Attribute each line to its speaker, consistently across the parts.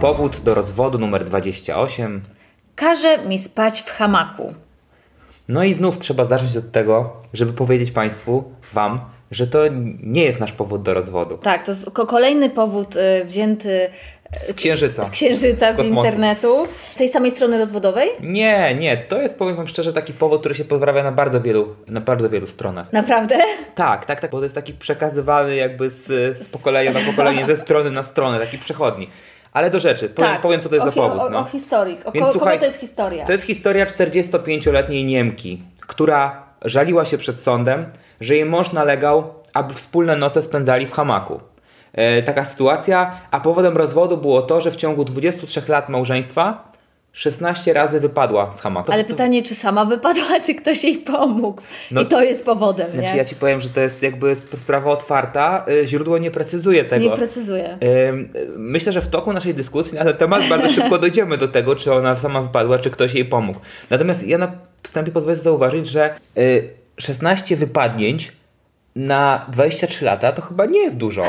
Speaker 1: Powód do rozwodu numer 28.
Speaker 2: Każe mi spać w hamaku.
Speaker 1: No i znów trzeba zacząć od tego, żeby powiedzieć Państwu, Wam, że to nie jest nasz powód do rozwodu.
Speaker 2: Tak, to jest ko- kolejny powód y, wzięty y,
Speaker 1: Z księżyca.
Speaker 2: z księżyca, z,
Speaker 1: kosmosu.
Speaker 2: internetu, tej samej strony rozwodowej.
Speaker 1: Nie, nie, to jest, powiem Wam szczerze, taki powód, który się pozbawia na bardzo wielu, na bardzo wielu stronach.
Speaker 2: Naprawdę?
Speaker 1: Tak, tak, tak, bo to jest taki przekazywany jakby z, z pokolenia na pokolenie, ze strony na stronę, taki przechodni. Ale do rzeczy, powiem,
Speaker 2: tak.
Speaker 1: powiem co to jest
Speaker 2: o,
Speaker 1: za
Speaker 2: hi-
Speaker 1: powód.
Speaker 2: O,
Speaker 1: no.
Speaker 2: o historyk. O
Speaker 1: Więc
Speaker 2: ko- kogo
Speaker 1: słuchajcie,
Speaker 2: to jest historia?
Speaker 1: To jest historia 45-letniej Niemki, która żaliła się przed sądem, że jej mąż nalegał, aby wspólne noce spędzali w hamaku. E, taka sytuacja, a powodem rozwodu było to, że w ciągu 23 lat małżeństwa 16 razy wypadła z hamaku. To-
Speaker 2: Ale
Speaker 1: to-
Speaker 2: pytanie, czy sama wypadła, czy ktoś jej pomógł?
Speaker 1: No-
Speaker 2: I to jest powodem, nie?
Speaker 1: Znaczy ja Ci powiem, że to jest jakby sp- sprawa otwarta, e, źródło nie precyzuje tego.
Speaker 2: Nie precyzuję.
Speaker 1: Ym, Myślę, że w toku naszej dyskusji na ten temat bardzo szybko dojdziemy do tego, czy ona sama wypadła, czy ktoś jej pomógł. Natomiast ja na wstępie pozwolę sobie zauważyć, że y, 16 wypadnięć na 23 lata to chyba nie jest dużo.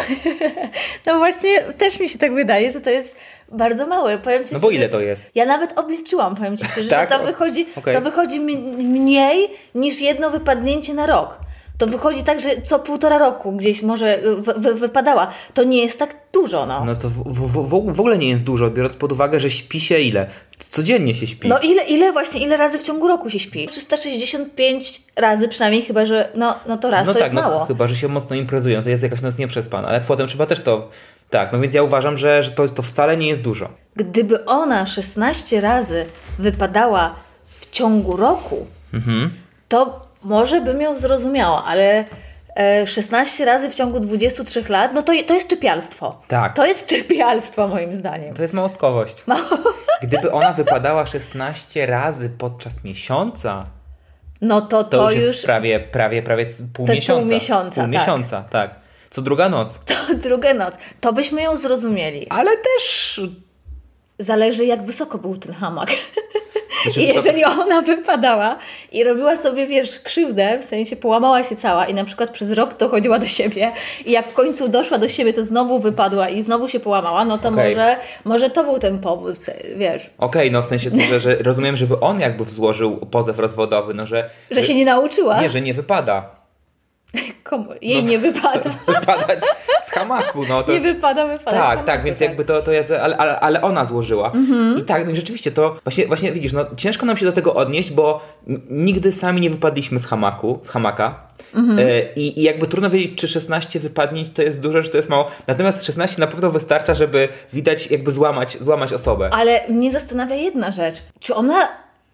Speaker 2: No właśnie, też mi się tak wydaje, że to jest bardzo małe. Powiem ci
Speaker 1: No bo
Speaker 2: szczerze-
Speaker 1: ile to jest?
Speaker 2: Ja nawet obliczyłam, powiem Ci szczerze,
Speaker 1: Tak?
Speaker 2: że to
Speaker 1: O-
Speaker 2: wychodzi,
Speaker 1: okej.
Speaker 2: to wychodzi m- mniej niż jedno wypadnięcie na rok. To wychodzi tak, że co półtora roku gdzieś może y, wy- wy- wypadała. To nie jest tak dużo, no. No,
Speaker 1: No to w, w, w, w ogóle nie jest dużo, biorąc pod uwagę, że śpi się ile? Codziennie się śpi.
Speaker 2: No ile, ile właśnie, ile razy w ciągu roku się śpi? 365 razy przynajmniej, chyba że, no, no to raz,
Speaker 1: no
Speaker 2: to
Speaker 1: tak,
Speaker 2: jest
Speaker 1: no,
Speaker 2: mało.
Speaker 1: Chyba, że się mocno imprezują, to jest jakaś noc nieprzespana, ale potem trzeba też to. Tak, no więc ja uważam, że, że to, to wcale nie jest dużo.
Speaker 2: Gdyby ona 16 razy wypadała w ciągu roku,
Speaker 1: Mhm.
Speaker 2: to może bym ją zrozumiała, ale e, 16 razy w ciągu 23 lat, no to, je- to jest czepialstwo.
Speaker 1: Tak.
Speaker 2: To jest czepialstwo moim zdaniem.
Speaker 1: To jest małostkowość.
Speaker 2: No.
Speaker 1: Gdyby ona wypadała 16 razy podczas miesiąca,
Speaker 2: No to
Speaker 1: to,
Speaker 2: to,
Speaker 1: już jest prawie, prawie, prawie z- pół
Speaker 2: To jest
Speaker 1: miesiąca.
Speaker 2: pół miesiąca,
Speaker 1: Pół
Speaker 2: tak.
Speaker 1: miesiąca, tak. Co druga noc.
Speaker 2: to druga noc. To byśmy ją zrozumieli.
Speaker 1: Ale też...
Speaker 2: Zależy jak wysoko był ten hamak.
Speaker 1: Znaczy,
Speaker 2: I
Speaker 1: to-
Speaker 2: jeżeli ona wypadała i robiła sobie, wiesz, krzywdę, w sensie połamała się cała i na przykład przez rok dochodziła do siebie i jak w końcu doszła do siebie, to znowu wypadła i znowu się połamała, no to
Speaker 1: Okej.
Speaker 2: może, może to był ten powód, wiesz,
Speaker 1: Okej, no w sensie to, że, że rozumiem, żeby on jakby złożył pozew rozwodowy, no że...
Speaker 2: że się nie nauczyła,
Speaker 1: Nie, że nie wypada. no
Speaker 2: Komu? jej nie wypada.
Speaker 1: Wypadać z hamaku, no to...
Speaker 2: Nie wypada, wypada.
Speaker 1: Tak,
Speaker 2: sama
Speaker 1: tak, więc
Speaker 2: wypada.
Speaker 1: jakby to, to jest, ale, ale, ale ona złożyła. I tak, no i rzeczywiście to, właśnie, właśnie widzisz, no ciężko nam się do tego odnieść, bo n- nigdy sami nie wypadliśmy z hamaku, z hamaka. E, I, I jakby trudno wiedzieć, czy 16 wypadnięć to jest dużo, czy to jest mało. Natomiast 16 na pewno wystarcza, żeby widać, jakby złamać, złamać osobę.
Speaker 2: Ale mnie zastanawia jedna rzecz. Czy ona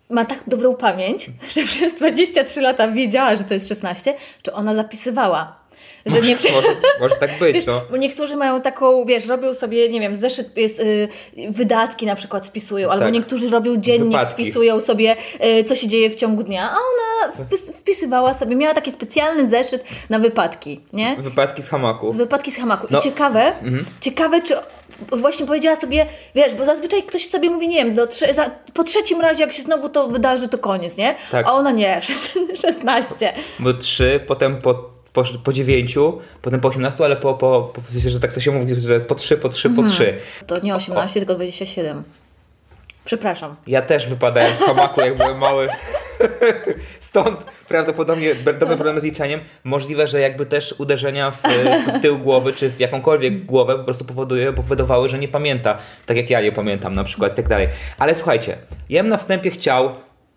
Speaker 2: ma tak dobrą pamięć, że przez 23 lata wiedziała, że to jest 16, czy ona zapisywała? Że nie prze...
Speaker 1: Może, może tak być, no.
Speaker 2: Bo niektórzy mają taką, wiesz, robią sobie, nie wiem, zeszyt, jest, y, wydatki na przykład spisują, albo
Speaker 1: Tak.
Speaker 2: niektórzy robią dziennik,
Speaker 1: Wypadki.
Speaker 2: wpisują sobie, y, co się dzieje w ciągu dnia, a ona wpis, wpisywała sobie, miała taki specjalny zeszyt na wypadki, nie?
Speaker 1: Wypadki z hamaku.
Speaker 2: Z wypadki z hamaku.
Speaker 1: No.
Speaker 2: I ciekawe, ciekawe, czy właśnie powiedziała sobie, wiesz, bo zazwyczaj ktoś sobie mówi, nie wiem, do trze- za, po trzecim razie, jak się znowu to wydarzy, to koniec, nie?
Speaker 1: Tak.
Speaker 2: A ona nie, 16.
Speaker 1: Bo 3, potem po, po, po 9, potem po 18, ale po, po, po w sensie, że tak to się mówi, że po 3, po 3, po 3.
Speaker 2: To nie 18, tylko 27. Przepraszam.
Speaker 1: Ja też wypadałem z hamaku, jak byłem mały. Stąd prawdopodobnie będą problemy z liczeniem. Możliwe, że jakby też uderzenia w, w tył głowy, czy w jakąkolwiek głowę po prostu powoduje, powodowały, że nie pamięta. Tak jak ja nie pamiętam na przykład i tak dalej. Ale słuchajcie, ja bym na wstępie chciał,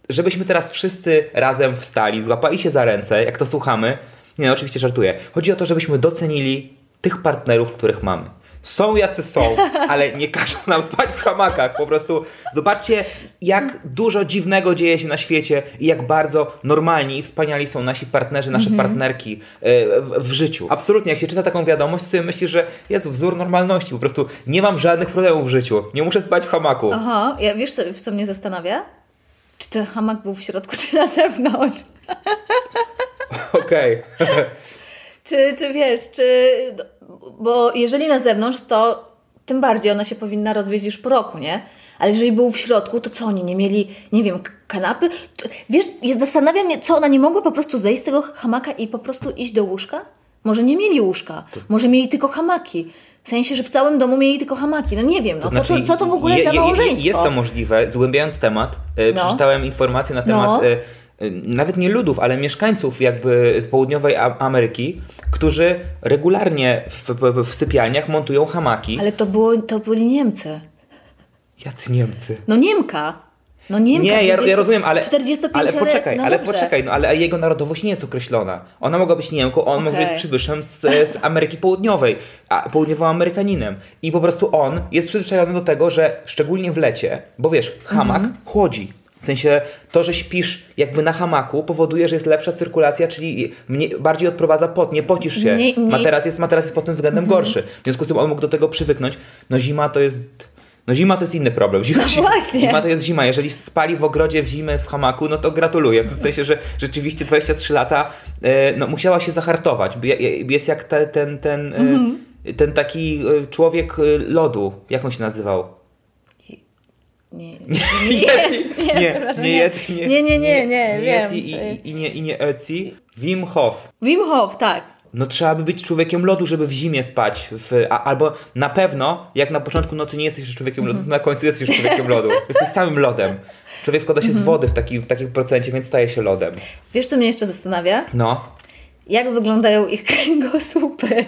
Speaker 1: żebyśmy teraz wszyscy razem wstali, złapali się za ręce, jak to słuchamy. Nie, no, oczywiście żartuję. Chodzi o to, żebyśmy docenili tych partnerów, których mamy. są jacy są, ale nie każą nam spać w hamakach. Po prostu zobaczcie, jak dużo dziwnego dzieje się na świecie i jak bardzo normalni i wspaniali są nasi partnerzy, nasze partnerki e, w, w życiu. Absolutnie, jak się czyta taką wiadomość, to sobie myślisz, że jest wzór normalności. Po prostu nie mam żadnych problemów w życiu. Nie muszę spać w hamaku.
Speaker 2: Aha, ja, wiesz co, co mnie zastanawia? Czy ten hamak był w środku, czy na zewnątrz?
Speaker 1: Okej.
Speaker 2: Czy, czy wiesz, czy... Bo jeżeli na zewnątrz, to tym bardziej ona się powinna rozwieść już po roku, nie? Ale jeżeli był w środku, to co oni nie mieli, nie wiem, k- kanapy? Czy- Wiesz, jest, zastanawia mnie, co ona nie mogła po prostu zejść z tego hamaka i po prostu iść do łóżka? Może nie mieli łóżka, może mieli tylko hamaki. W sensie, że w całym domu mieli tylko hamaki. No nie wiem, no, co, to, co to w ogóle
Speaker 1: znaczy, je-
Speaker 2: za
Speaker 1: je-
Speaker 2: małżeństwo?
Speaker 1: Jest to możliwe. Zgłębiając temat, e,
Speaker 2: No.
Speaker 1: przeczytałem informacje na temat
Speaker 2: No.
Speaker 1: e, e, nawet nie ludów, ale mieszkańców jakby południowej A- Ameryki, którzy regularnie w, w, w sypialniach montują hamaki.
Speaker 2: Ale to, było, to byli Niemcy.
Speaker 1: Jacy Niemcy.
Speaker 2: No Niemka. No Niemka.
Speaker 1: Nie, ja, ja
Speaker 2: 40
Speaker 1: rozumiem, ale,
Speaker 2: 45
Speaker 1: ale poczekaj,
Speaker 2: no
Speaker 1: ale
Speaker 2: dobrze.
Speaker 1: poczekaj, no ale jego narodowość nie jest określona. Ona mogła być Niemką, on mógł
Speaker 2: Okej.
Speaker 1: być przybyszem z, z Ameryki Południowej, a południowoamerykaninem. I po prostu on jest przyzwyczajony do tego, że szczególnie w lecie, bo wiesz, hamak
Speaker 2: Mhm.
Speaker 1: chłodzi. W sensie to, że śpisz jakby na hamaku powoduje, że jest lepsza cyrkulacja, czyli mniej, bardziej odprowadza pot, nie pocisz się.
Speaker 2: Mniej- mniej-
Speaker 1: Materac jest, materac jest pod tym względem
Speaker 2: Mhm.
Speaker 1: gorszy. W związku z tym on mógł do tego przywyknąć. No zima to jest... No zima to jest inny problem. Zima,
Speaker 2: No
Speaker 1: zima-
Speaker 2: właśnie.
Speaker 1: Zima to jest zima. Jeżeli spali w ogrodzie w zimę w hamaku, no to gratuluję. W tym sensie, że rzeczywiście 23 lata e, no, musiała się zahartować. By- e, Jest jak te, ten, ten, e,
Speaker 2: Mhm.
Speaker 1: ten taki e, człowiek e, lodu. Jak on się nazywał?
Speaker 2: Nie,
Speaker 1: Yeti.
Speaker 2: nie,
Speaker 1: nie,
Speaker 2: przepraszam,
Speaker 1: nie,
Speaker 2: nie.
Speaker 1: Yeti, nie,
Speaker 2: Nie, nie, nie, nie, wiem,
Speaker 1: Yeti i,
Speaker 2: czy-
Speaker 1: i, i nie, i nie Eci. Wim Hof.
Speaker 2: Wim Hof, tak.
Speaker 1: No trzeba by być człowiekiem lodu, żeby w zimie spać. W, a, albo na pewno, jak na początku nocy nie jesteś już człowiekiem lodu, to na końcu jesteś już człowiekiem lodu. Jesteś samym lodem. Człowiek składa się z wody w, taki, w takim procencie, więc staje się lodem.
Speaker 2: Wiesz, co mnie jeszcze zastanawia?
Speaker 1: No.
Speaker 2: Jak wyglądają ich kręgosłupy?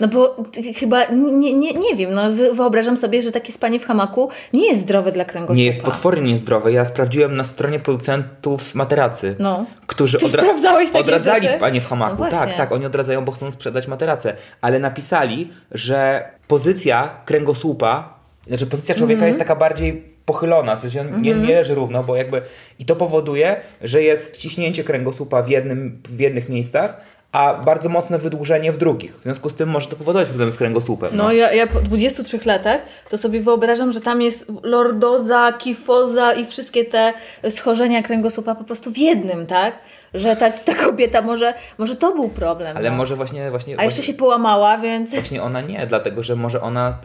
Speaker 2: No bo ty- chyba, nie, nie, nie wiem, no wy- wyobrażam sobie, że takie spanie w hamaku nie jest zdrowe dla kręgosłupa.
Speaker 1: Nie jest potwornie niezdrowe. Ja sprawdziłem na stronie producentów materacy.
Speaker 2: No.
Speaker 1: Którzy
Speaker 2: Ty
Speaker 1: odra-
Speaker 2: sprawdzałeś takie
Speaker 1: odradzali
Speaker 2: rzeczy?
Speaker 1: spanie w hamaku.
Speaker 2: No
Speaker 1: tak,
Speaker 2: właśnie.
Speaker 1: tak, oni odradzają, bo chcą sprzedać materacę. Ale napisali, że pozycja kręgosłupa, znaczy pozycja człowieka
Speaker 2: Mhm.
Speaker 1: jest taka bardziej pochylona, w sensie on nie, nie leży równo, bo jakby i to powoduje, że jest ciśnięcie kręgosłupa w, jednym, w jednych miejscach, a bardzo mocne wydłużenie w drugich. W związku z tym może to powodować problem z kręgosłupem.
Speaker 2: No ja, ja po 23 latach to sobie wyobrażam, że tam jest lordoza, kifoza i wszystkie te schorzenia kręgosłupa po prostu w jednym, tak? Że ta, ta kobieta może, może to był problem.
Speaker 1: Ale
Speaker 2: no.
Speaker 1: może właśnie... właśnie
Speaker 2: A jeszcze
Speaker 1: właśnie-
Speaker 2: się połamała, więc...
Speaker 1: Właśnie ona nie, dlatego że może ona,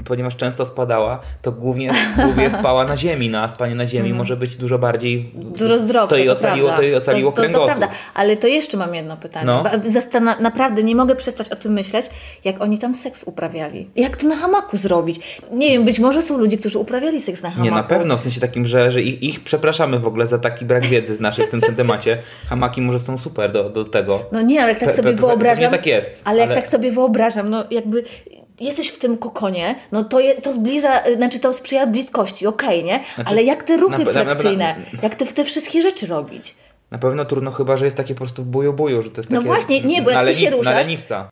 Speaker 1: y, ponieważ często spadała, to głównie, głównie spała na ziemi, no, a spanie na ziemi może być dużo bardziej.
Speaker 2: Mhm. Dużo zdrowsze,
Speaker 1: To jej
Speaker 2: to
Speaker 1: ocaliło,
Speaker 2: prawda.
Speaker 1: to jej ocaliło
Speaker 2: to, to, to
Speaker 1: kręgosłup.
Speaker 2: prawda, ale to jeszcze mam jedno pytanie.
Speaker 1: No.
Speaker 2: No. Zastana- naprawdę nie mogę przestać o tym myśleć, jak oni tam seks uprawiali. Jak to na hamaku zrobić? Nie wiem, być może są ludzie, którzy uprawiali seks na hamaku.
Speaker 1: Nie, na pewno, w sensie takim, że, że ich, ich przepraszamy w ogóle za taki brak wiedzy z naszej w tym, tym temacie. Hamaki może są super do, do tego.
Speaker 2: No nie, ale jak tak
Speaker 1: Pe-
Speaker 2: sobie
Speaker 1: pe- pe-
Speaker 2: wyobrażam.
Speaker 1: pewnie tak jest,
Speaker 2: Ale jak
Speaker 1: ale-
Speaker 2: tak sobie wyobrażam, no jakby jesteś w tym kokonie, no to, je, to zbliża, y, znaczy to sprzyja bliskości, okej, nie?
Speaker 1: Znaczy,
Speaker 2: ale jak te ruchy
Speaker 1: na pe- na- na- na-
Speaker 2: fleksyjne, jak te, te wszystkie rzeczy robić?
Speaker 1: Na pewno trudno chyba, że jest takie po prostu buju-buju, że to jest
Speaker 2: No
Speaker 1: takie...
Speaker 2: właśnie, nie, bo jak
Speaker 1: na
Speaker 2: ty się
Speaker 1: leniw-
Speaker 2: ruszasz-
Speaker 1: Na leniwca.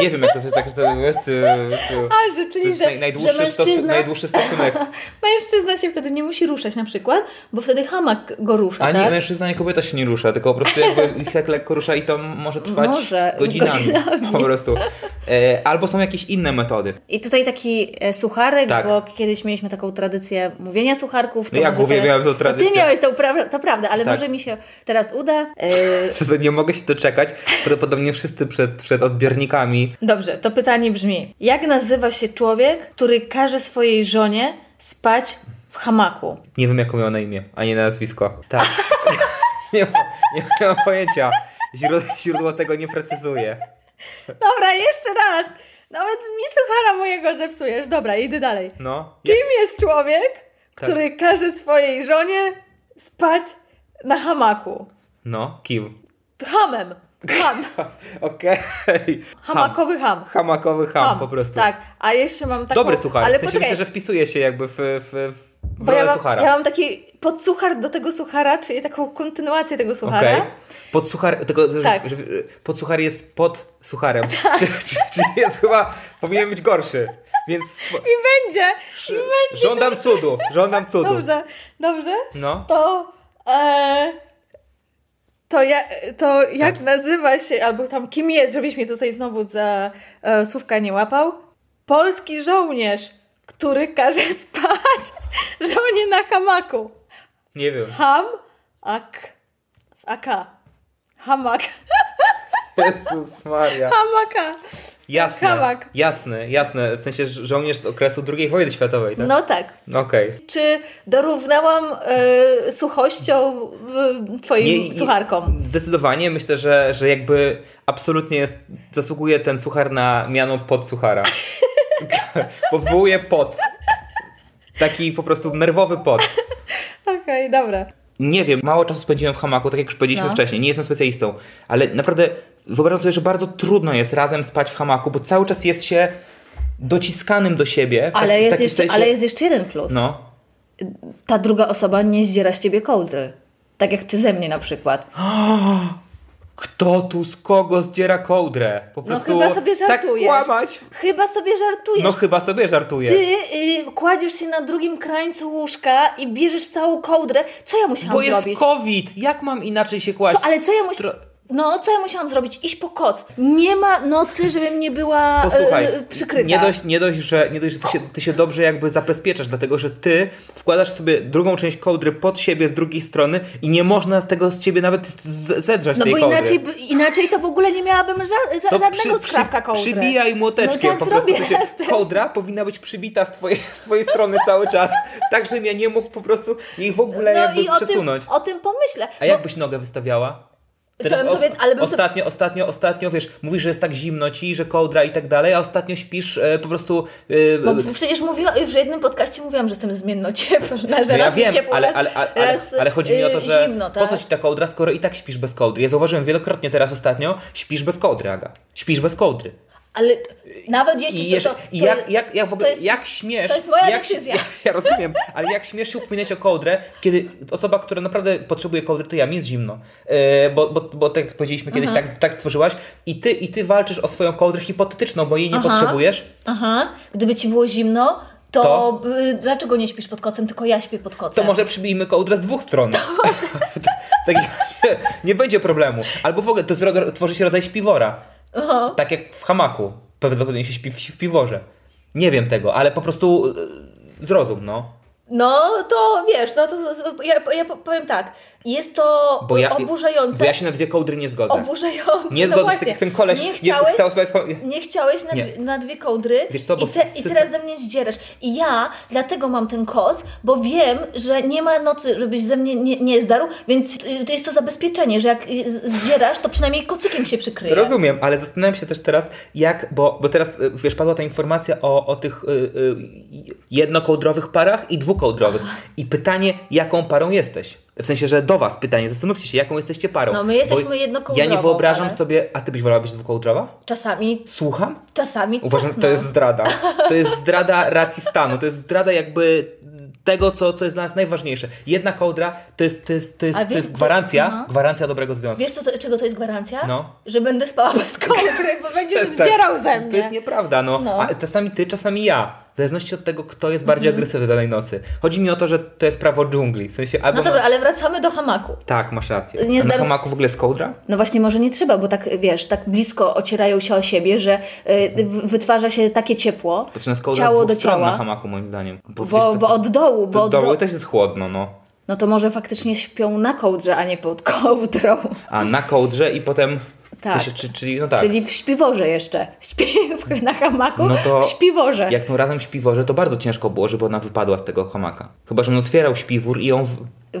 Speaker 1: Nie wiem, jak to jest tak, że to jest... y, y,
Speaker 2: A, że
Speaker 1: to
Speaker 2: czyli,
Speaker 1: jest
Speaker 2: że,
Speaker 1: naj, najdłuższy,
Speaker 2: że
Speaker 1: stosu-
Speaker 2: mężczyzna,
Speaker 1: najdłuższy stosunek.
Speaker 2: mężczyzna się wtedy nie musi ruszać na przykład, bo wtedy hamak go rusza,
Speaker 1: Ani
Speaker 2: tak?
Speaker 1: mężczyzna, ani kobieta się nie rusza, tylko po prostu jakby ich tak lekko rusza i to może trwać
Speaker 2: Może,
Speaker 1: godzinami,
Speaker 2: godzinami.
Speaker 1: Po prostu. E, albo są jakieś inne metody.
Speaker 2: I tutaj taki e, sucharek,
Speaker 1: Tak.
Speaker 2: bo kiedyś mieliśmy taką tradycję mówienia sucharków. to
Speaker 1: Ja
Speaker 2: może
Speaker 1: głównie
Speaker 2: teraz-
Speaker 1: miałem tą
Speaker 2: No
Speaker 1: tradycję.
Speaker 2: Ty miałeś tą, pra- to prawda, ale
Speaker 1: Tak.
Speaker 2: może mi się teraz uda. E,
Speaker 1: Co, Nie mogę się doczekać. Prawdopodobnie wszyscy przed, przed odbiornikami.
Speaker 2: Dobrze, to pytanie brzmi: jak nazywa się człowiek, który każe swojej żonie spać w hamaku?
Speaker 1: Nie wiem, jaką miała na imię, ani na nazwisko. Tak. nie, ma, nie mam pojęcia. Źródło, źródło tego nie precyzuje.
Speaker 2: Dobra, jeszcze raz! Nawet mi suchara mojego zepsujesz. Dobra, idę dalej.
Speaker 1: No.
Speaker 2: Kim jest człowiek,
Speaker 1: Tak.
Speaker 2: który każe swojej żonie spać na hamaku?
Speaker 1: No, kim?
Speaker 2: Hamem. Ham.
Speaker 1: Okej. Ham.
Speaker 2: Hamakowy ham.
Speaker 1: Hamakowy ham, po prostu.
Speaker 2: Tak, a jeszcze mam taką...
Speaker 1: Dobry, słuchaj.
Speaker 2: Ale
Speaker 1: w sensie
Speaker 2: poczekaj,
Speaker 1: myślę, że wpisuje się jakby w, w, w w
Speaker 2: Bo ja
Speaker 1: rolę
Speaker 2: mam,
Speaker 1: suchara.
Speaker 2: ja mam taki podsuchar do tego suchara, czyli taką kontynuację tego suchara.
Speaker 1: Okej. Pod suchar, tylko, że,
Speaker 2: Tak.
Speaker 1: że, e, pod suchar jest pod sucharem. Czyli czyli jest chyba, powinien być gorszy. Więc
Speaker 2: I będzie! I będzie!
Speaker 1: żądam cudu, żądam cudu.
Speaker 2: Dobrze, dobrze.
Speaker 1: No.
Speaker 2: To. E, to, ja, to jak
Speaker 1: Tak.
Speaker 2: nazywa się, albo tam kim jest, żebyś mnie tutaj znowu za e, słówka nie łapał? Polski żołnierz, który każe spać żonie na hamaku.
Speaker 1: Nie wiem.
Speaker 2: Ham, ak, z AK. Hamak,
Speaker 1: Jezus Maria.
Speaker 2: hamaka.
Speaker 1: Tak. Jasne,
Speaker 2: Hamak.
Speaker 1: jasne, jasne. W sensie żo- żołnierz z okresu II wojny światowej, tak?
Speaker 2: No tak.
Speaker 1: Okej.
Speaker 2: Czy dorównałam e, suchością e, twoim
Speaker 1: Nie,
Speaker 2: sucharkom?
Speaker 1: Zdecydowanie myślę, że, że jakby absolutnie jest, zasługuje ten suchar na miano pod suchara. Powołuje pot. Taki po prostu nerwowy pot.
Speaker 2: Okej, dobra.
Speaker 1: Nie wiem, mało czasu spędziłem w hamaku, tak jak już powiedzieliśmy
Speaker 2: No.
Speaker 1: wcześniej, nie jestem specjalistą, ale naprawdę wyobrażam sobie, że bardzo trudno jest razem spać w hamaku, bo cały czas jest się dociskanym do siebie. Tak, w taki-
Speaker 2: Ale
Speaker 1: w
Speaker 2: jest,
Speaker 1: takim
Speaker 2: jeszcze,
Speaker 1: sensie-
Speaker 2: ale jest jeszcze jeden plus.
Speaker 1: No.
Speaker 2: Ta druga osoba nie zdziera z ciebie kołdry. Tak jak ty ze mnie na przykład.
Speaker 1: Kto tu z kogo zdziera kołdrę? Po prostu
Speaker 2: No chyba sobie
Speaker 1: tak
Speaker 2: żartujesz.
Speaker 1: kłamać.
Speaker 2: Chyba sobie żartujesz.
Speaker 1: No chyba sobie żartuję.
Speaker 2: Ty y, kładziesz się na drugim krańcu łóżka i bierzesz całą kołdrę. Co ja musiałam
Speaker 1: Bo jest
Speaker 2: zrobić?
Speaker 1: COVID! Jak mam inaczej się kłaść?
Speaker 2: Co, ale co ja musiałam...
Speaker 1: Stro-
Speaker 2: No, co ja musiałam zrobić? Iść po koc. Nie ma nocy, żebym nie była
Speaker 1: Posłuchaj,
Speaker 2: y, y, przykryta.
Speaker 1: nie dość, nie dość, że, nie dość, że ty, się, ty się dobrze jakby zabezpieczasz, dlatego że ty wkładasz sobie drugą część kołdry pod siebie z drugiej strony i nie można tego z ciebie nawet z- zedrzać
Speaker 2: No
Speaker 1: tej
Speaker 2: bo
Speaker 1: kołdry.
Speaker 2: inaczej, by- inaczej to w ogóle nie miałabym ża- ża-
Speaker 1: To
Speaker 2: żadnego
Speaker 1: przy-
Speaker 2: skrawka
Speaker 1: przy-
Speaker 2: kołdry.
Speaker 1: Przybijaj młoteczkiem.
Speaker 2: No tak
Speaker 1: po prostu
Speaker 2: zrobię
Speaker 1: to się,
Speaker 2: teraz.
Speaker 1: kołdra powinna być przybita z twojej, z twojej strony cały czas, tak żebym ja nie mógł po prostu jej w ogóle
Speaker 2: No
Speaker 1: jakby
Speaker 2: i o tym,
Speaker 1: przesunąć.
Speaker 2: o tym pomyślę.
Speaker 1: A jak byś nogę wystawiała?
Speaker 2: To bym sobie- ale bym sobie-
Speaker 1: ostatnio, ostatnio, ostatnio, wiesz, mówisz, że jest tak zimno ci, że kołdra i tak dalej, a ostatnio śpisz e, po prostu... E,
Speaker 2: Bo przecież mówiła, już w jednym podcaście mówiłam, że jestem zmienno cieplna, że
Speaker 1: no ja
Speaker 2: raz mi
Speaker 1: wiem,
Speaker 2: ciepło,
Speaker 1: ale,
Speaker 2: raz,
Speaker 1: ale, ale, ale,
Speaker 2: raz,
Speaker 1: ale chodzi mi o to,
Speaker 2: y,
Speaker 1: że
Speaker 2: zimno,
Speaker 1: po
Speaker 2: tak?
Speaker 1: co ci ta kołdra, skoro i tak śpisz bez kołdry? Ja zauważyłem wielokrotnie teraz ostatnio, śpisz bez kołdry, Aga. Śpisz bez kołdry.
Speaker 2: Ale nawet jeśli
Speaker 1: I,
Speaker 2: to,
Speaker 1: jeszcze,
Speaker 2: to, to,
Speaker 1: i jak, jak, jak w ogóle,
Speaker 2: to jest-
Speaker 1: jak śmiesz...
Speaker 2: to jest moja
Speaker 1: jak, się-
Speaker 2: decyzja.
Speaker 1: Ja, ja rozumiem, ale jak śmiesz się upominać o kołdrę, kiedy osoba, która naprawdę potrzebuje kołdry, to ja, mi jest zimno. E, bo, bo, bo tak jak powiedzieliśmy kiedyś, tak, tak stworzyłaś i ty, i ty walczysz o swoją kołdrę hipotetyczną, bo jej nie
Speaker 2: Aha.
Speaker 1: potrzebujesz.
Speaker 2: Aha, gdyby ci było zimno, to,
Speaker 1: To?
Speaker 2: y, dlaczego nie śpisz pod kocem, tylko ja śpię pod kocem?
Speaker 1: To może przybijmy kołdrę z dwóch stron. tak, nie, nie będzie problemu. Albo w ogóle to zro- tworzy się rodzaj śpiwora.
Speaker 2: Aha.
Speaker 1: Tak jak w hamaku. Prawdopodobnie się śpi w, w piworze. Nie wiem tego, ale po prostu e, zrozum, no.
Speaker 2: No to wiesz, no to z- z- ja, ja powiem tak, jest to
Speaker 1: Bo ja,
Speaker 2: oburzające.
Speaker 1: Bo ja się na dwie kołdry nie zgodzę.
Speaker 2: Oburzające.
Speaker 1: nie
Speaker 2: no
Speaker 1: zgodzę się, tak
Speaker 2: właśnie.
Speaker 1: jak ten koleś.
Speaker 2: Nie chciałeś,
Speaker 1: chciał sobie spo-
Speaker 2: Nie chciałeś na,
Speaker 1: Nie.
Speaker 2: Dwie, na dwie kołdry
Speaker 1: Wiesz co, bo
Speaker 2: i, te, i
Speaker 1: system-
Speaker 2: teraz ze mnie zdzierasz. I ja dlatego mam ten koc, bo wiem, że nie ma nocy, żebyś ze mnie nie, nie zdarł, więc y, to jest to zabezpieczenie, że jak y, z- zdzierasz, to przynajmniej kocykiem się przykryje.
Speaker 1: Rozumiem, ale zastanawiam się też teraz, jak, bo, bo teraz y, wiesz, padła ta informacja o, o tych y, y, jednokołdrowych parach i dwukołdrowych. I pytanie, jaką parą jesteś? W sensie, że do was pytanie, zastanówcie się, jaką jesteście parą.
Speaker 2: No, my jesteśmy
Speaker 1: Bo
Speaker 2: jednokołdrową,
Speaker 1: Ja nie wyobrażam
Speaker 2: ale-
Speaker 1: sobie, a ty byś wolała być dwukołdrowa?
Speaker 2: Czasami,
Speaker 1: Słucham?
Speaker 2: czasami
Speaker 1: Uważam,
Speaker 2: tak,
Speaker 1: że to
Speaker 2: no.
Speaker 1: jest zdrada. To jest zdrada racji stanu, to jest zdrada jakby tego, co, co jest dla nas najważniejsze. Jedna kołdra to jest, to jest, to jest,
Speaker 2: A
Speaker 1: to
Speaker 2: wiesz,
Speaker 1: jest
Speaker 2: to-
Speaker 1: gwarancja,
Speaker 2: aha.
Speaker 1: gwarancja dobrego związku.
Speaker 2: Wiesz, co, to, czego to jest gwarancja?
Speaker 1: No.
Speaker 2: Że będę spała bez kołdry, bo będziesz
Speaker 1: Tak.
Speaker 2: zdzierał ze
Speaker 1: To jest
Speaker 2: mnie.
Speaker 1: nieprawda, no.
Speaker 2: No. Mhm.
Speaker 1: A czasami ty, czasami ja. W zależności od tego, kto jest bardziej agresywny danej nocy. Chodzi mi o to, że to jest prawo dżungli. W sensie albo
Speaker 2: No dobra,
Speaker 1: ma-
Speaker 2: ale wracamy do hamaku.
Speaker 1: Tak, masz rację.
Speaker 2: Nie
Speaker 1: A na
Speaker 2: zdar-
Speaker 1: hamaku w ogóle jest kołdra?
Speaker 2: No właśnie, może nie trzeba, bo tak wiesz, tak blisko ocierają się o siebie, że y, w- wytwarza się takie ciepło.
Speaker 1: Znaczy na kołdra
Speaker 2: ciało
Speaker 1: z
Speaker 2: do
Speaker 1: dwóch stron na
Speaker 2: ciała.
Speaker 1: hamaku moim zdaniem.
Speaker 2: Bo, bo od dołu, bo
Speaker 1: do,
Speaker 2: od dołu.
Speaker 1: dołu też jest chłodno, no.
Speaker 2: No to może faktycznie śpią na kołdrze, a nie pod kołdrą.
Speaker 1: A na kołdrze i potem...
Speaker 2: Tak.
Speaker 1: W sensie, czy, czyli, no tak.
Speaker 2: Czyli w śpiworze jeszcze. Śpi na hamaku
Speaker 1: No to-
Speaker 2: w śpiworze.
Speaker 1: Jak są razem w śpiworze, to bardzo ciężko było, żeby ona wypadła z tego hamaka. Chyba, że on otwierał śpiwór i ją w...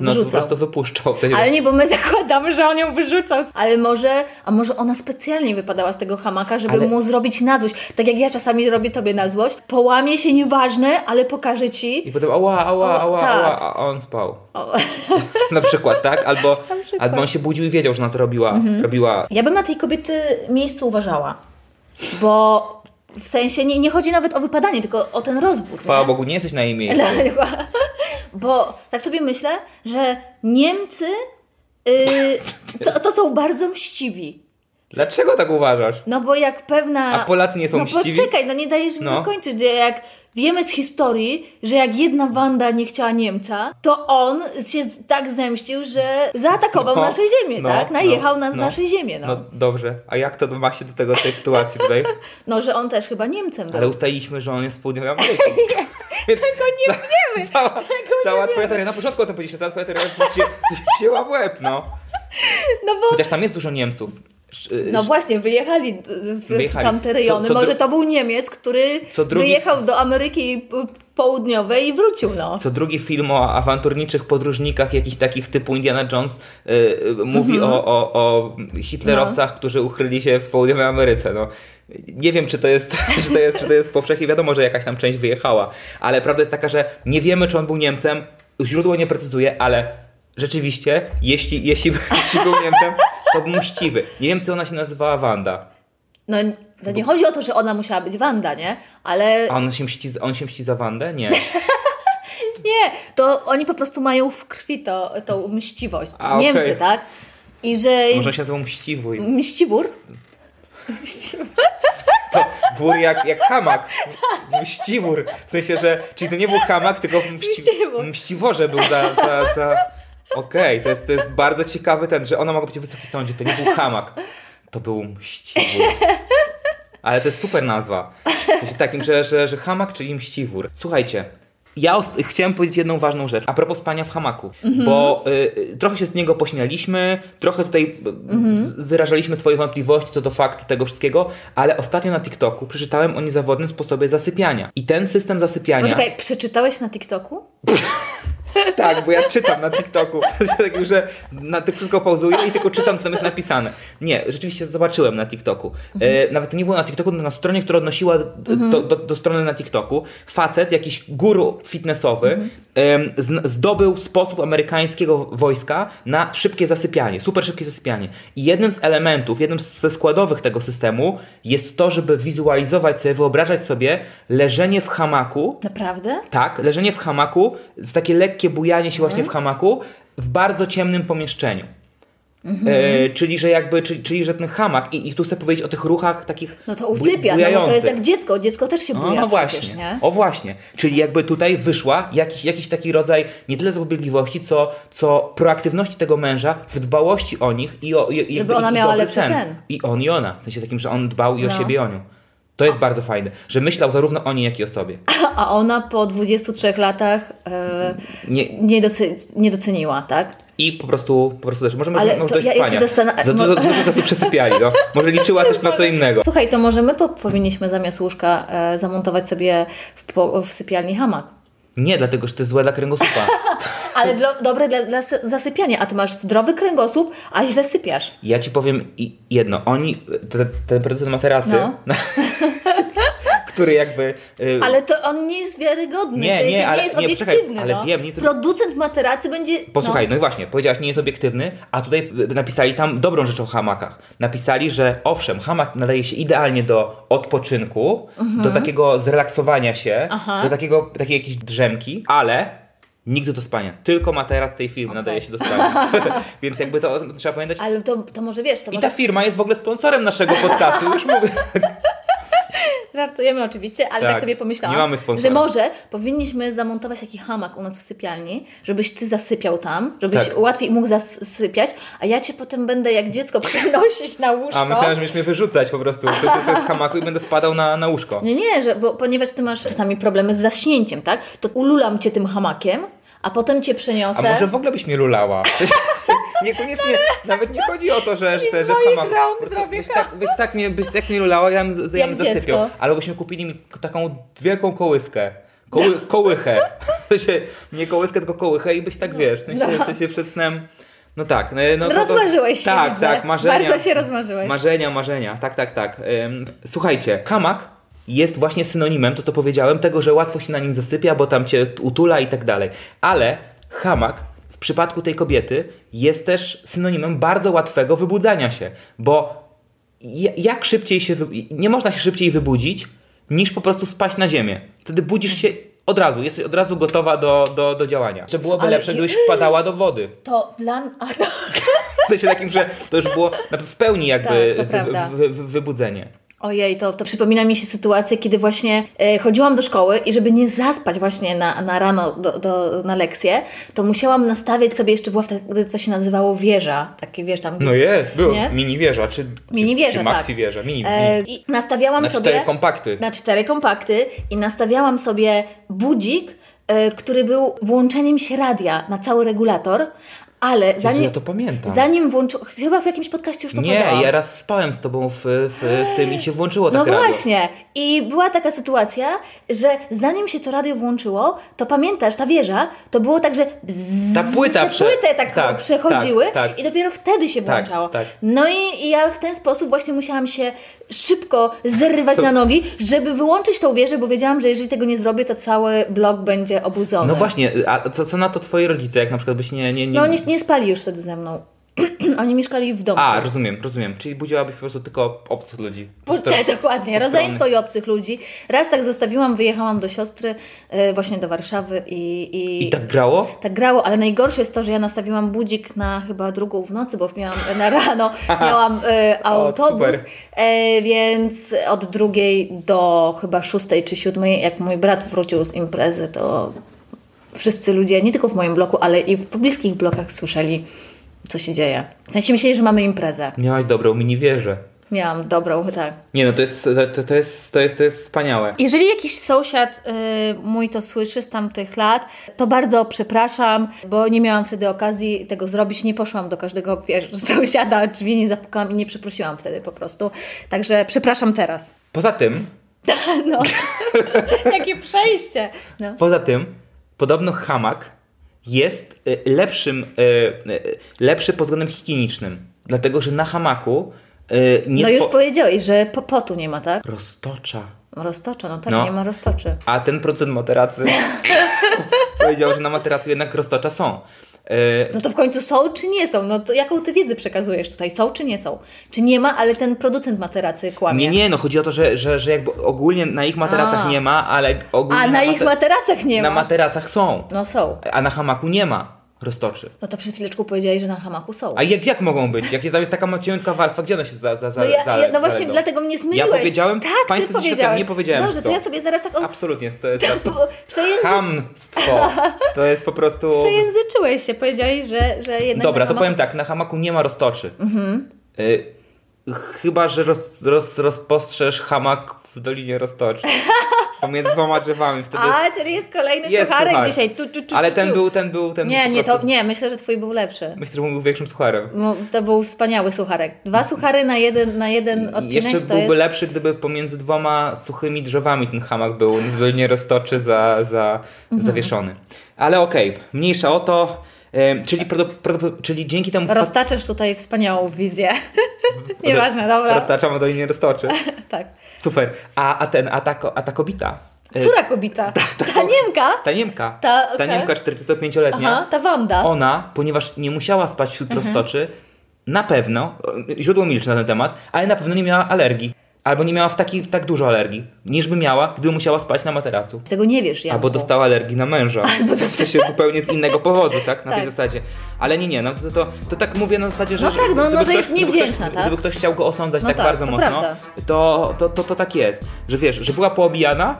Speaker 1: no, to po
Speaker 2: Wrzucał.
Speaker 1: prostu wypuszczał. W sensie,
Speaker 2: Ale nie, bo my zakładamy, że on ją wyrzucał. Ale może, a może ona specjalnie wypadała z tego hamaka, żeby
Speaker 1: Ale-
Speaker 2: mu zrobić na złość. Tak jak ja czasami robię tobie na złość. Połamie się, nieważne, ale pokażę ci.
Speaker 1: I potem ała,
Speaker 2: Ała,
Speaker 1: ała, ała,
Speaker 2: tak.
Speaker 1: ała, a on spał. Na przykład, tak? Albo,
Speaker 2: przykład. Mhm.
Speaker 1: albo on się budził i wiedział, że ona to robiła. robiła.
Speaker 2: Ja bym na tej kobiety miejscu uważała. Bo w sensie nie, nie chodzi nawet o wypadanie, tylko o ten rozwód.
Speaker 1: Chwała
Speaker 2: nie?
Speaker 1: Bogu, nie jesteś na jej miejscu.
Speaker 2: Dla- Bo tak sobie myślę, że Niemcy yy, to, to są bardzo mściwi.
Speaker 1: Dlaczego tak uważasz?
Speaker 2: No bo jak pewna.
Speaker 1: A Polacy nie są
Speaker 2: no
Speaker 1: mściwi?
Speaker 2: poczekaj, no nie dajesz mi
Speaker 1: No.
Speaker 2: dokończyć, że jak wiemy z historii, że jak jedna Wanda nie chciała Niemca, to on się tak zemścił, że zaatakował
Speaker 1: No,
Speaker 2: nasze ziemię,
Speaker 1: no,
Speaker 2: tak? Najechał
Speaker 1: no,
Speaker 2: na
Speaker 1: no.
Speaker 2: nasze ziemię. No.
Speaker 1: No
Speaker 2: No.
Speaker 1: dobrze, a jak to ma się do tego tej sytuacji tutaj?
Speaker 2: No, że on też chyba Niemcem był.
Speaker 1: Ale ustaliliśmy, że on jest z południowej Ameryki.
Speaker 2: Tego nie wiemy.
Speaker 1: Cała, cała twoja teoria, na początku o tym powiedzieliśmy, cała twoja teoria się, się wzięła w łeb, no.
Speaker 2: No bo.
Speaker 1: Chociaż tam jest dużo Niemców. Sz- y,
Speaker 2: No
Speaker 1: sz-
Speaker 2: właśnie, wyjechali d- w
Speaker 1: Wyjechali.
Speaker 2: tamte rejony.
Speaker 1: Co- co
Speaker 2: Może
Speaker 1: dru-
Speaker 2: to był Niemiec, który
Speaker 1: Co drugi-
Speaker 2: wyjechał do Ameryki p- Południowej i wrócił, no.
Speaker 1: Co drugi film o awanturniczych podróżnikach, jakichś takich typu Indiana Jones, y, y, mówi o, o, o hitlerowcach, którzy ukryli się w południowej Ameryce. No. Nie wiem, czy to, jest, czy, to jest, czy to jest powszechnie wiadomo, że jakaś tam część wyjechała, ale prawda jest taka, że nie wiemy, czy on był Niemcem, źródło nie precyzuje, ale rzeczywiście, jeśli, jeśli, jeśli był Niemcem, to był mściwy. Nie wiem, co ona się nazywała Wanda.
Speaker 2: No, no nie chodzi o to, że ona musiała być Wanda, nie? Ale
Speaker 1: A on się mści, on się mści za Wandę? Nie.
Speaker 2: Nie, to oni po prostu mają w krwi to, tą mściwość.
Speaker 1: A,
Speaker 2: Niemcy,
Speaker 1: okej.
Speaker 2: tak? I że
Speaker 1: Może się nazywał mściwy.
Speaker 2: mściwór,
Speaker 1: To wór jak, jak hamak. Mściwór. W sensie, że. Czyli to nie był hamak, tylko mści,
Speaker 2: Mściwór.
Speaker 1: mściworze był za. za, za... Okej, to, jest, to jest bardzo ciekawy ten, że ona mogła być w wysokim sądzie. To nie był hamak. To był mściwór. Ale to jest super nazwa. W sensie takim, że, że, że hamak, czyli mściwór. Słuchajcie. Ja os- chciałem powiedzieć jedną ważną rzecz a propos spania w hamaku, bo y, y, trochę się z niego pośmialiśmy, trochę tutaj y, z- wyrażaliśmy swoje wątpliwości co do faktu tego wszystkiego, ale ostatnio na TikToku przeczytałem o niezawodnym sposobie zasypiania. I ten system zasypiania.
Speaker 2: poczekaj, przeczytałeś na TikToku?
Speaker 1: Tak, bo ja czytam na TikToku. To się tak już, że na tym wszystko pauzuję i tylko czytam, co tam jest napisane. Nie, rzeczywiście zobaczyłem na TikToku. E, nawet to nie było na TikToku, tylko na stronie, która odnosiła do, do, do, do strony na TikToku. Facet, jakiś guru fitnessowy, em, zn- zdobył sposób amerykańskiego wojska na szybkie zasypianie, super szybkie zasypianie. I jednym z elementów, jednym z ze składowych tego systemu jest to, żeby wizualizować sobie, wyobrażać sobie leżenie w hamaku
Speaker 2: Naprawdę?
Speaker 1: tak, leżenie w hamaku, z takie lekkie bujanie się właśnie w
Speaker 2: Mhm.
Speaker 1: hamaku w bardzo ciemnym pomieszczeniu. E,
Speaker 2: Mhm.
Speaker 1: czyli, że jakby, czyli, czyli, że ten hamak, i, i tu chcę powiedzieć o tych ruchach takich.
Speaker 2: No to
Speaker 1: bu-
Speaker 2: usypia, no bo to jest
Speaker 1: bujających.
Speaker 2: jak dziecko, dziecko też się
Speaker 1: No,
Speaker 2: buja
Speaker 1: no właśnie.
Speaker 2: przecież, nie?
Speaker 1: O właśnie. Czyli jakby tutaj wyszła jakiś, jakiś taki rodzaj nie tyle zapobiegliwości, co, co proaktywności tego męża w dbałości o nich i o i, i jakby
Speaker 2: ona
Speaker 1: i
Speaker 2: miała
Speaker 1: dobry
Speaker 2: lepszy sen.
Speaker 1: I on i ona. W sensie takim, że on dbał i o
Speaker 2: No.
Speaker 1: siebie i o nią. To jest bardzo fajne, że myślał zarówno o niej, jak i o sobie.
Speaker 2: A ona po 23 latach e,
Speaker 1: Nie,
Speaker 2: nie, doce- nie doceniła, tak?
Speaker 1: I po prostu, po prostu też. Może,
Speaker 2: Ale
Speaker 1: może, może
Speaker 2: to
Speaker 1: dość
Speaker 2: ja- ja się
Speaker 1: spania.
Speaker 2: zastanawiam-
Speaker 1: Za dużo, za dużo czasu przesypiali, no. Może liczyła też na co innego.
Speaker 2: Słuchaj, to może my po- powinniśmy zamiast łóżka e, zamontować sobie w, po- w sypialni hamak.
Speaker 1: Nie, dlatego, że to jest złe dla kręgosłupa.
Speaker 2: Ale dla, dobre dla, dla sy- zasypiania, a ty masz zdrowy kręgosłup, a źle sypiasz.
Speaker 1: Ja ci powiem i- jedno. Oni, te- ten producent ma rację,
Speaker 2: No.
Speaker 1: który jakby... y,
Speaker 2: Ale to on nie jest wiarygodny,
Speaker 1: Nie,
Speaker 2: w sensie
Speaker 1: nie,
Speaker 2: nie,
Speaker 1: ale-
Speaker 2: jest
Speaker 1: nie,
Speaker 2: obiektywny.
Speaker 1: poczekaj, ale
Speaker 2: no.
Speaker 1: wiem, nie jest-
Speaker 2: Producent materacy będzie...
Speaker 1: Posłuchaj, no. i właśnie, powiedziałaś, nie jest obiektywny, a tutaj y, napisali tam dobrą rzecz o hamakach. Napisali, że owszem, hamak nadaje się idealnie do odpoczynku, do takiego zrelaksowania się,
Speaker 2: Mhm. Aha.
Speaker 1: do takiego, takiej jakiejś drzemki, ale nigdy do spania. Tylko materac tej firmy nadaje się do spania. Więc jakby to o tym trzeba pamiętać.
Speaker 2: No, ale to, to może wiesz, to
Speaker 1: I tak-
Speaker 2: może...
Speaker 1: ta firma jest w ogóle sponsorem naszego podcastu, już mówię.
Speaker 2: Żartujemy oczywiście, ale tak,
Speaker 1: Tak,
Speaker 2: sobie pomyślałam,
Speaker 1: nie mamy sponsora.
Speaker 2: że może powinniśmy zamontować taki hamak u nas w sypialni, żebyś ty zasypiał tam, żebyś
Speaker 1: Tak.
Speaker 2: łatwiej mógł zasypiać, a ja cię potem będę jak dziecko przenosić na łóżko.
Speaker 1: A myślałem, że będziesz mnie wyrzucać po prostu to jest z hamaku i będę spadał na, na łóżko.
Speaker 2: Nie, nie, że, bo, ponieważ ty masz czasami problemy z zaśnięciem, tak? To ululam cię tym hamakiem, a potem cię przeniosę...
Speaker 1: A może w ogóle byś mnie lulała? Niekoniecznie, nawet nie chodzi o to, że, że,
Speaker 2: I
Speaker 1: że
Speaker 2: z
Speaker 1: w
Speaker 2: moich
Speaker 1: hamaku.
Speaker 2: rąk
Speaker 1: Po prostu
Speaker 2: zrobię
Speaker 1: byś tak, byś, tak mnie, byś tak mnie lulała, ja bym, z- ja bym
Speaker 2: Jak
Speaker 1: zasypiał.
Speaker 2: dziecko.
Speaker 1: Ale byśmy kupili mi taką wielką kołyskę. Koły, kołychę. W sensie, nie kołyskę, tylko kołychę i byś
Speaker 2: No.
Speaker 1: tak, wiesz, w sensie, w sensie przed snem... No tak. No, no to- to-
Speaker 2: Rozmarzyłeś się,
Speaker 1: Tak,
Speaker 2: widzę.
Speaker 1: tak, marzenia.
Speaker 2: Bardzo się rozmarzyłeś.
Speaker 1: Marzenia, marzenia, tak, tak, tak. Ym, Słuchajcie, hamak jest właśnie synonimem, to co powiedziałem, tego, że łatwo się na nim zasypia, bo tam cię utula i tak dalej. Ale hamak w przypadku tej kobiety jest też synonimem bardzo łatwego wybudzania się, bo ja- jak szybciej się, wy- nie można się szybciej wybudzić, niż po prostu spaść na ziemię. Wtedy budzisz się od razu, jesteś od razu gotowa do, do, do działania. Czy byłoby
Speaker 2: Ale
Speaker 1: lepsze,
Speaker 2: je-
Speaker 1: gdybyś wpadała do wody?
Speaker 2: To dla mnie... A, to...
Speaker 1: W sensie takim, że to już było na- w pełni jakby
Speaker 2: Tak, to
Speaker 1: w,
Speaker 2: prawda.
Speaker 1: w, w, w, wybudzenie.
Speaker 2: Ojej, to, to przypomina mi się sytuacja, kiedy właśnie e, chodziłam do szkoły i żeby nie zaspać właśnie na, na rano do, do, na lekcję, to musiałam nastawiać sobie, jeszcze była wtedy, co się nazywało wieża, takie wiesz tam...
Speaker 1: No jest, było.
Speaker 2: Nie?
Speaker 1: Mini wieża, czy,
Speaker 2: Mini wieża,
Speaker 1: czy maxi
Speaker 2: tak.
Speaker 1: wieża, mini,
Speaker 2: E,
Speaker 1: mini.
Speaker 2: I nastawiałam
Speaker 1: Na
Speaker 2: sobie...
Speaker 1: cztery kompakty.
Speaker 2: na cztery kompakty i nastawiałam sobie budzik, e, który był włączeniem się radia na cały regulator, ale zanim,
Speaker 1: ja to pamiętam.
Speaker 2: zanim włączył, chyba w jakimś podcaście już to
Speaker 1: Nie,
Speaker 2: podałam.
Speaker 1: ja raz spałem z tobą w, w, w tym i się włączyło tak
Speaker 2: No
Speaker 1: radio.
Speaker 2: właśnie. I była taka sytuacja, że zanim się to radio włączyło, to pamiętasz, ta wieża, to było tak, że bzzz,
Speaker 1: Ta płyta
Speaker 2: te
Speaker 1: prze-
Speaker 2: płyty tak,
Speaker 1: tak,
Speaker 2: przechodziły
Speaker 1: tak, tak.
Speaker 2: i dopiero wtedy się
Speaker 1: Tak,
Speaker 2: włączało.
Speaker 1: tak.
Speaker 2: No i, i ja w ten sposób właśnie musiałam się szybko zerwać na nogi, żeby wyłączyć tą wieżę, bo wiedziałam, że jeżeli tego nie zrobię, to cały blok będzie obudzony.
Speaker 1: No właśnie, a co, co na to twoi rodzice, jak na przykład byś nie... nie, nie...
Speaker 2: No oni nie spali już wtedy ze mną. Oni mieszkali w domu.
Speaker 1: A, rozumiem, rozumiem. Czyli budziłabyś po prostu tylko obcych ludzi.
Speaker 2: Po- Tak, dokładnie, rodzeństwo i obcych ludzi. Raz tak zostawiłam, wyjechałam do siostry, e, właśnie do Warszawy i, i,
Speaker 1: I tak grało?
Speaker 2: tak grało, ale najgorsze jest to, że ja nastawiłam budzik na chyba drugą w nocy, bo miałam na rano miałam e, autobus,
Speaker 1: super.
Speaker 2: e, więc od drugiej do chyba szóstej czy siódmej, jak mój brat wrócił z imprezy, to wszyscy ludzie, nie tylko w moim bloku, ale i w pobliskich blokach słyszeli, co się dzieje. W sensie myśleli, że mamy imprezę.
Speaker 1: Miałaś dobrą mini wieżę.
Speaker 2: Miałam dobrą, tak.
Speaker 1: Nie no, to jest, to, to jest, to jest, to jest wspaniałe.
Speaker 2: Jeżeli jakiś sąsiad y, mój to słyszy z tamtych lat, to bardzo przepraszam, bo nie miałam wtedy okazji tego zrobić. Nie poszłam do każdego wiesz, sąsiada, drzwi nie zapukałam i nie przeprosiłam wtedy po prostu. Także przepraszam teraz.
Speaker 1: Poza tym,
Speaker 2: No, jakie przejście. No.
Speaker 1: poza tym, podobno hamak jest y, lepszym, y, y, lepszy pod względem higienicznym. Dlatego, że na hamaku y, nie
Speaker 2: no już
Speaker 1: two-
Speaker 2: powiedziałeś, że po, potu nie ma, tak?
Speaker 1: roztocza.
Speaker 2: Roztocza, no tak,
Speaker 1: No.
Speaker 2: nie ma roztoczy.
Speaker 1: A ten producent materacy powiedział, że na materacu jednak roztocza są. Y,
Speaker 2: No to w końcu są czy nie są? No to jaką ty wiedzę przekazujesz tutaj? Są czy nie są? Czy nie ma, ale ten producent materacy kłamie?
Speaker 1: Nie, nie, no chodzi o to, że, że, że jakby ogólnie na ich materacach
Speaker 2: A.
Speaker 1: nie ma, ale ogólnie
Speaker 2: A na ich
Speaker 1: mater-
Speaker 2: materacach nie ma.
Speaker 1: na materacach są,
Speaker 2: No są.
Speaker 1: a na hamaku nie ma roztoczy.
Speaker 2: No to przed chwileczką powiedziałeś, że na hamaku są.
Speaker 1: A jak, jak mogą być? Jak jest, tam jest taka macieniutka warstwa, gdzie ona się za, za, za,
Speaker 2: no, ja,
Speaker 1: za,
Speaker 2: ja, no właśnie
Speaker 1: zalegą?
Speaker 2: dlatego mnie zmyliłeś.
Speaker 1: Ja powiedziałem,
Speaker 2: tak,
Speaker 1: państwo
Speaker 2: ty
Speaker 1: ze środka
Speaker 2: powiedziałeś.
Speaker 1: nie powiedziałem,
Speaker 2: Dobrze,
Speaker 1: co.
Speaker 2: to ja sobie zaraz tak o,
Speaker 1: Absolutnie, to jest
Speaker 2: po- przejęzy,
Speaker 1: hamstwo. To jest po prostu...
Speaker 2: przejęzyczyłeś się, powiedziałeś, że, że jednak
Speaker 1: Dobra,
Speaker 2: na
Speaker 1: to
Speaker 2: hamaku-
Speaker 1: powiem tak, na hamaku nie ma roztoczy.
Speaker 2: Mhm.
Speaker 1: Y, chyba, że roz, roz, rozpostrzeż hamak w Dolinie Roztoczy. Pomiędzy dwoma drzewami. Wtedy
Speaker 2: A, czyli jest kolejny
Speaker 1: Jest
Speaker 2: sucharek
Speaker 1: suchar.
Speaker 2: dzisiaj. Tu, tu, tu,
Speaker 1: Ale
Speaker 2: tu,
Speaker 1: ten
Speaker 2: tu.
Speaker 1: był, ten był, ten
Speaker 2: Nie,
Speaker 1: był
Speaker 2: nie,
Speaker 1: po prostu-
Speaker 2: to, nie, myślę, że twój był lepszy.
Speaker 1: Myślę, że on był większym sucharem.
Speaker 2: No, To był wspaniały sucharek. Dwa suchary na jeden, na jeden odcinek
Speaker 1: Mm. Jeszcze
Speaker 2: to
Speaker 1: byłby
Speaker 2: jest...
Speaker 1: lepszy, gdyby pomiędzy dwoma suchymi drzewami ten hamak był nie roztoczy za, za,
Speaker 2: Mhm.
Speaker 1: zawieszony. Ale okej, mniejsza o to. Em, Czyli, prodo, prodo, czyli dzięki temu
Speaker 2: Roztaczysz tutaj wspaniałą wizję. Nieważne, dobra.
Speaker 1: roztaczamy do nie roztoczy.
Speaker 2: tak.
Speaker 1: Super. A, a ten, a ta, ko- a ta kobita. e,
Speaker 2: Która kobita? Ta Niemka?
Speaker 1: Ta Niemka.
Speaker 2: Ta, okej.
Speaker 1: Niemka 45-letnia.
Speaker 2: Aha, ta Wanda.
Speaker 1: Ona, ponieważ nie musiała spać wśród
Speaker 2: Mhm.
Speaker 1: roztoczy, na pewno, źródło milczy na ten temat, ale na pewno nie miała alergii. Albo nie miała w taki, tak dużo alergii, niż by miała, gdyby musiała spać na materacu.
Speaker 2: Tego nie wiesz, ja.
Speaker 1: Albo dostała alergii na męża. Albo w sensie zupełnie z innego powodu, tak? Na tej
Speaker 2: Tak.
Speaker 1: zasadzie. Ale nie, nie, no to, to, to tak mówię na zasadzie, że.
Speaker 2: No tak, no, no, że
Speaker 1: ktoś-
Speaker 2: jest niewdzięczna,
Speaker 1: ktoś,
Speaker 2: tak?
Speaker 1: Gdyby ktoś chciał go osądzać
Speaker 2: No
Speaker 1: tak,
Speaker 2: tak,
Speaker 1: bardzo
Speaker 2: to
Speaker 1: mocno,
Speaker 2: prawda.
Speaker 1: to, to, to, to tak jest. Że wiesz, że była poobijana,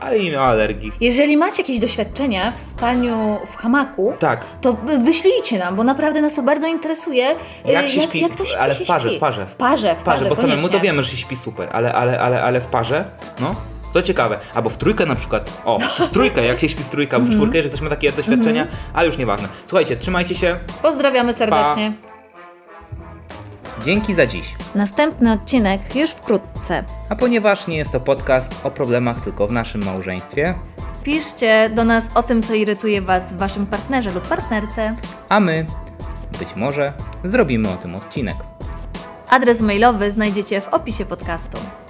Speaker 1: ale nie miała alergii.
Speaker 2: Jeżeli macie jakieś doświadczenia w spaniu w hamaku,
Speaker 1: Tak.
Speaker 2: to y, wyślijcie nam, bo naprawdę nas to bardzo interesuje. y,
Speaker 1: Jak się śpi,
Speaker 2: jak to śpi,
Speaker 1: ale w
Speaker 2: się
Speaker 1: parze,
Speaker 2: śpi.
Speaker 1: w parze.
Speaker 2: W parze, w parze,
Speaker 1: parze, bo samemu to
Speaker 2: koniecznie.
Speaker 1: wiemy, że się śpi super, ale, ale, ale, ale w parze, no, to ciekawe. Albo w trójkę na przykład, o, w trójkę, jak się śpi w trójkę, albo w czwórkę, że ktoś ma takie doświadczenia, ale już nieważne. Słuchajcie, trzymajcie się,
Speaker 2: Pozdrawiamy serdecznie.
Speaker 1: dzięki za dziś.
Speaker 2: Następny odcinek już wkrótce.
Speaker 1: A ponieważ nie jest to podcast o problemach tylko w naszym małżeństwie,
Speaker 2: Piszcie do nas o tym, co irytuje Was w Waszym partnerze lub partnerce.
Speaker 1: a my, być może, zrobimy o tym odcinek.
Speaker 2: Adres mailowy znajdziecie w opisie podcastu.